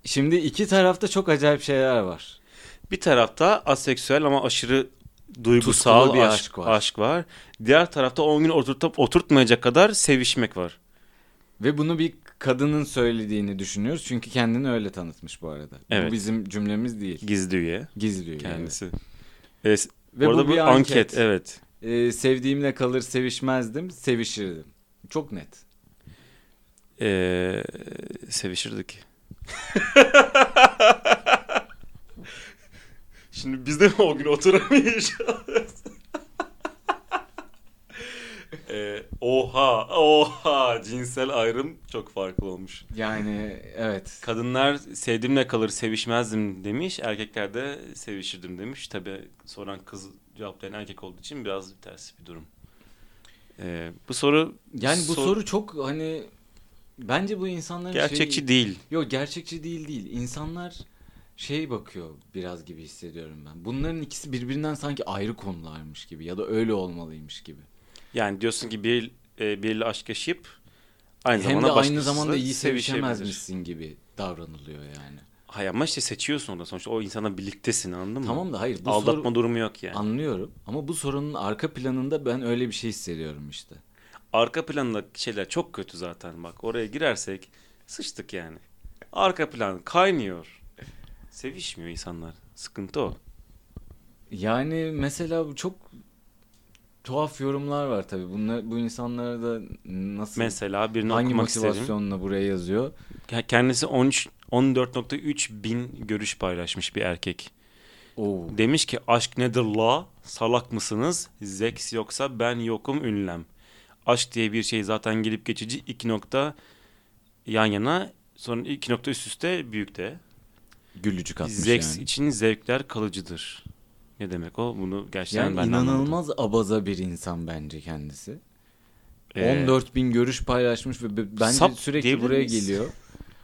şimdi iki tarafta çok acayip şeyler var. Bir tarafta aseksüel ama aşırı duygusal Tutkulu bir aşk, aşk aşk, var. var. Diğer tarafta 10 gün oturtup oturtmayacak kadar sevişmek var. Ve bunu bir kadının söylediğini düşünüyoruz. Çünkü kendini öyle tanıtmış bu arada. Evet. Bu bizim cümlemiz değil. Gizli üye Gizliyor kendisi. E, s- Ve orada bu bu bir anket. anket. evet. Ee, sevdiğimle kalır sevişmezdim, sevişirdim. Çok net. E, sevişirdik. Şimdi biz de mi o gün oturamayacağız? E, oha, oha cinsel ayrım çok farklı olmuş. Yani evet. Kadınlar sevdimle kalır sevişmezdim demiş. Erkekler de sevişirdim demiş. Tabi soran kız cevaplayan erkek olduğu için biraz ters bir durum. Ee, bu soru Yani bu Sor- soru çok hani bence bu insanların gerçekçi şeyi- değil. Yok gerçekçi değil değil. İnsanlar şey bakıyor biraz gibi hissediyorum ben. Bunların ikisi birbirinden sanki ayrı konularmış gibi ya da öyle olmalıymış gibi. Yani diyorsun ki bir e, biriyle aşk yaşayıp aynı Hem de zamanda aynı zamanda iyi sevişemezmiş. sevişemezmişsin gibi davranılıyor yani. Hayır ama işte seçiyorsun orada sonuçta o insana birliktesin anladın mı? Tamam da hayır bu Aldatma soru durumu yok yani. anlıyorum ama bu sorunun arka planında ben öyle bir şey hissediyorum işte. Arka plandaki şeyler çok kötü zaten bak. Oraya girersek sıçtık yani. Arka plan kaynıyor. Sevişmiyor insanlar. Sıkıntı o. Yani mesela bu çok tuhaf yorumlar var tabii. Bunlar bu insanlara da nasıl Mesela birini hangi okumak istedim. motivasyonla buraya yazıyor? Ke- Kendisi 13 14.3 bin görüş paylaşmış bir erkek. Oo. Demiş ki aşk nedir la? Salak mısınız? Zeks yoksa ben yokum ünlem. Aşk diye bir şey zaten gelip geçici iki nokta yan yana sonra iki nokta üst üste büyükte. Gülücük atmış Zeks yani. için zevkler kalıcıdır. Ne demek o? Bunu gerçekten Yani ben de anlamadım. inanılmaz abaza bir insan bence kendisi. Ee, 14 bin görüş paylaşmış ve b- bence sap sürekli diyebilir buraya miyiz? geliyor.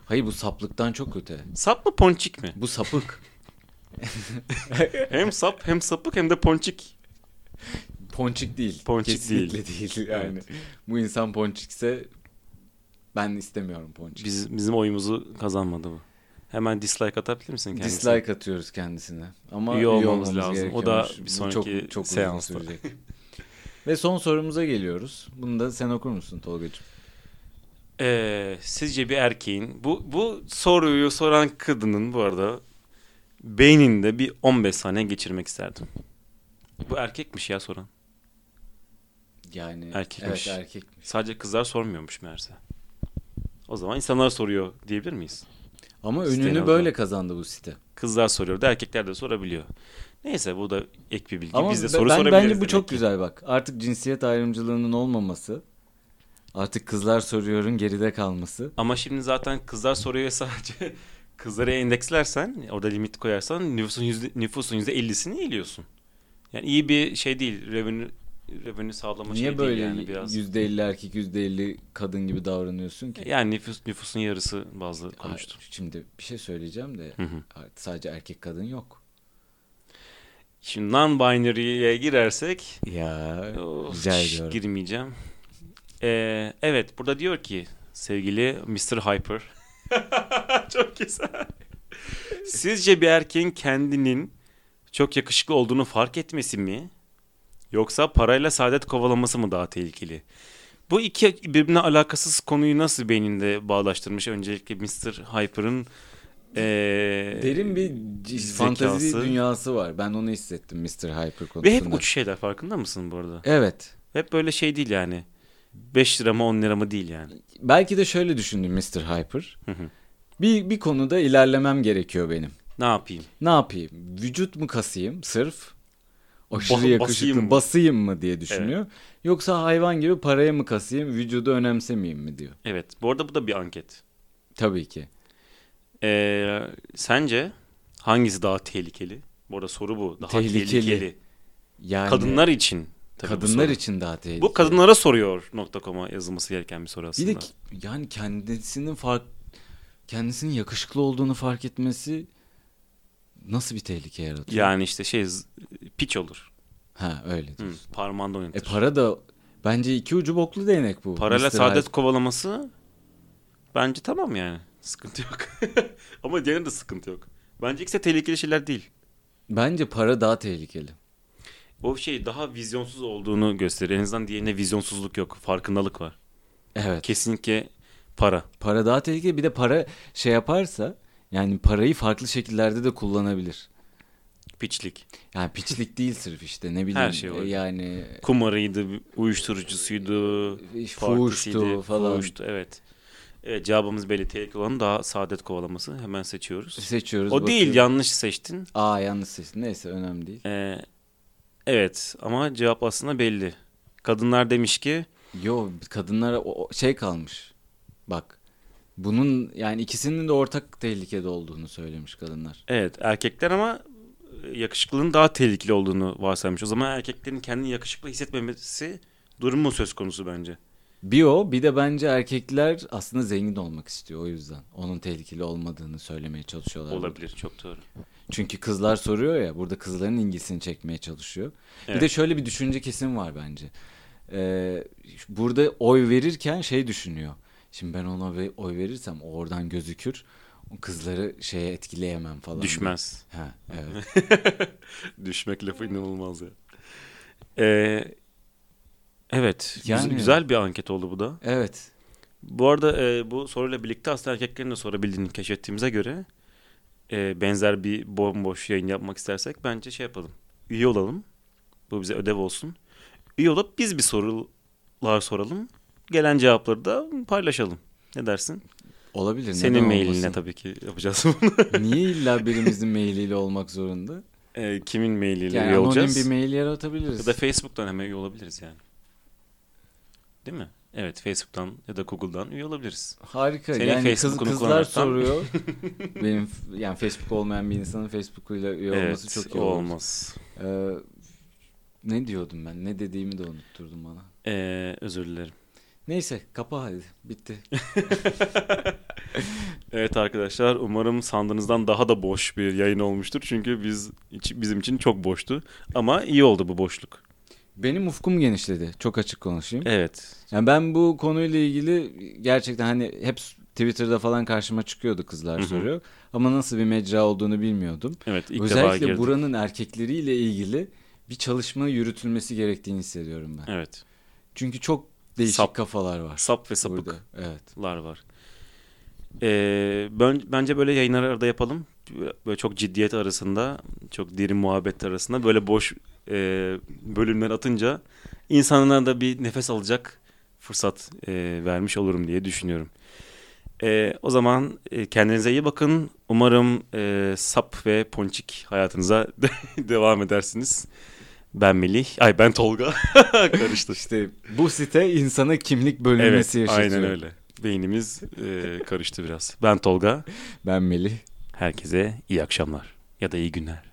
Hayır bu saplıktan çok öte. Sap mı ponçik mi? Bu sapık. Hem sap hem sapık hem de ponçik. Ponçik değil. Ponçik Kesinlikle değil. yani. Bu insan ponçikse ben istemiyorum ponçik. Biz, bizim oyumuzu kazanmadı bu. Hemen dislike atabilir misin kendisine? Dislike atıyoruz kendisine. Ama İyi iyi olmamız olmamız, lazım. O da gerekiyormuş. bir Bu sonraki çok, çok uzun seansta. sürecek. Ve son sorumuza geliyoruz. Bunu da sen okur musun Tolga'cığım? Ee, sizce bir erkeğin bu bu soruyu soran kadının bu arada beyninde bir 15 saniye geçirmek isterdim. Bu erkekmiş ya soran. Yani Erkekmiş. Evet erkekmiş. Sadece kızlar sormuyormuş meğerse. O zaman insanlar soruyor diyebilir miyiz? Ama İsteyen ününü adam. böyle kazandı bu site. Kızlar soruyor da erkekler de sorabiliyor. Neyse bu da ek bir bilgi. Ama Biz de ben- soru ben, sorabiliriz. bence bu demek çok ki. güzel bak. Artık cinsiyet ayrımcılığının olmaması. Artık kızlar soruyorum geride kalması. Ama şimdi zaten kızlar soruyor sadece kızlara endekslersen orada limit koyarsan nüfusun yüzde, nüfusun yüzde 50'sini eliyorsun. Yani iyi bir şey değil. Revenue, revenue sağlama Niye şey böyle değil yani biraz. %50 erkek %50 kadın gibi davranıyorsun ki? Yani nüfus, nüfusun yarısı bazı konuştu. Ay, Şimdi bir şey söyleyeceğim de Hı hı. sadece erkek kadın yok. Şimdi non-binary'ye girersek Ya Of, rica şş, ediyorum. girmeyeceğim. Ee, evet burada diyor ki sevgili Mr. Hyper. çok güzel. Sizce bir erkeğin kendinin çok yakışıklı olduğunu fark etmesi mi? Yoksa parayla saadet kovalaması mı daha tehlikeli? Bu iki birbirine alakasız konuyu nasıl beyninde bağdaştırmış? Öncelikle Mr. Hyper'ın ee, Derin bir c- fantezi zekası. dünyası var. Ben onu hissettim Mr. Hyper konusunda. Ve hep uç şeyler farkında mısın bu arada? Evet. Hep böyle şey değil yani. 5 lira mı 10 lira mı değil yani. Belki de şöyle düşündüm Mr. Hyper. Hı hı. bir, bir konuda ilerlemem gerekiyor benim. Ne yapayım? Ne yapayım? Vücut mu kasayım sırf? Aşırı Ba- yakışıklı basayım basayım mı? mı? diye düşünüyor. Yoksa hayvan gibi paraya mı kasayım, vücudu önemsemeyeyim mi diyor. Evet. Bu arada bu da bir anket. Tabii ki. Ee, sence hangisi daha tehlikeli? Bu arada soru bu. Daha tehlikeli. Tehlikeli. Yani Kadınlar için. tabii bu kadınlar soru. için daha tehlikeli. Bu kadınlara soruyor nokta.com'a yazılması gereken bir soru Bir aslında. de ki- yani kendisinin fark kendisinin yakışıklı olduğunu fark etmesi nasıl bir tehlike yaratıyor? Yani işte şey z- piç olur. Ha öyle. Hı, diyorsun. parmağında E oynatır. para da bence iki ucu boklu değnek bu. Parayla Mr. saadet Hyde. kovalaması bence tamam yani. Sıkıntı yok. Ama diğerinde sıkıntı yok. Bence ikisi de tehlikeli şeyler değil. Bence para daha tehlikeli. O şey daha vizyonsuz olduğunu gösterir. En azından diğerine vizyonsuzluk yok. Farkındalık var. Evet. Kesinlikle Para. Para daha tehlikeli. Bir de para şey yaparsa yani parayı farklı şekillerde de kullanabilir. Piçlik. Yani piçlik değil sırf işte ne bileyim. e, Her şey var. Yani Kumarıydı, uyuşturucusuydu, partisiydi, fuhuştu falan. fuhuştu, evet. Evet, cevabımız belli. Tehlikeli olan daha saadet kovalaması. Hemen seçiyoruz. Seçiyoruz. O değil bakıyoruz. yanlış seçtin. Aa yanlış seçtim. Neyse önemli değil. Ee, evet ama cevap aslında belli. Kadınlar demiş ki Yo kadınlara o- o şey kalmış. Bak. Bunun yani ikisinin de ortak tehlikede olduğunu söylemiş kadınlar. evet erkekler ama yakışıklılığın daha tehlikeli olduğunu varsaymış. O zaman erkeklerin kendini yakışıklı hissetmemesi durumu söz konusu bence. Bir o bir de bence erkekler aslında zengin olmak istiyor o yüzden. Onun tehlikeli olmadığını söylemeye çalışıyorlar. Olabilir çok doğru. Çünkü kızlar soruyor ya burada kızların ilgisini çekmeye çalışıyor. Bir de Evet. şöyle bir düşünce kesim var bence. Ee, burada oy verirken şey düşünüyor. Şimdi ben ona ve- oy verirsem o oradan gözükür. O kızları şeye etkileyemem falan. Düşmez. Ha, evet. Düşmek lafı inanılmaz ya. Ee, evet. güz- Yani- Güzel bir anket oldu bu da. evet. Bu arada e, bu soruyla birlikte aslında erkeklerin de sorabildiğini keşfettiğimize göre e, benzer bir bomboş yayın yapmak istersek bence şey yapalım. Üye olalım. Bu bize ödev olsun. Üye olup biz bir sorular soralım. Gelen cevapları da paylaşalım. Ne dersin? Olabilir. Senin E, neden mailine olmasın? tabii ki yapacağız bunu. Niye illa birimizin mailiyle olmak zorunda? E, kimin mailiyle Yani üye anonim olacağız? bir mail Ya yaratabiliriz. da Facebook'tan hemen üye olabiliriz yani. Değil mi? Evet Facebook'tan ya da Google'dan üye olabiliriz. Harika. Senin yani kız- Facebook'unu kızlar kullanmaktan- soruyor. Benim f- yani Facebook olmayan bir insanın Facebook'uyla üye olması evet, çok iyi o olur. olmaz. Ee, ne diyordum ben? Ne dediğimi de unutturdum bana. Ee, özür dilerim. Neyse kapa hadi. Bitti. Evet arkadaşlar umarım sandığınızdan daha da boş bir yayın olmuştur. Çünkü biz içi- bizim için çok boştu. Ama iyi oldu bu boşluk. Benim ufkum genişledi. Çok açık konuşayım. Evet. Yani ben bu konuyla ilgili gerçekten hani hep Twitter'da falan karşıma çıkıyordu kızlar Hı hı. soruyor. Ama nasıl bir mecra olduğunu bilmiyordum. Evet ilk defa Özellikle girdim. buranın erkekleriyle ilgili bir çalışma yürütülmesi gerektiğini hissediyorum ben. Evet. Çünkü çok değişik Sap- kafalar var. Sap ve sapık. Burada. Evet. lar var. Ee, ben, bence böyle yayınlar arada yapalım. Böyle çok ciddiyet arasında, çok derin muhabbet arasında böyle boş e, bölümler atınca insanlara da bir nefes alacak fırsat e, vermiş olurum diye düşünüyorum. E, o zaman e, kendinize iyi bakın. Umarım e, sap ve ponçik hayatınıza devam edersiniz. Ben Melih. Ay ben Tolga. Karıştı. İşte bu site insana kimlik Evet, bölünmesi yaşatıyor. aynen öyle. Beynimiz e, karıştı biraz. Ben Tolga. Ben Melih. Herkese iyi akşamlar ya da iyi günler.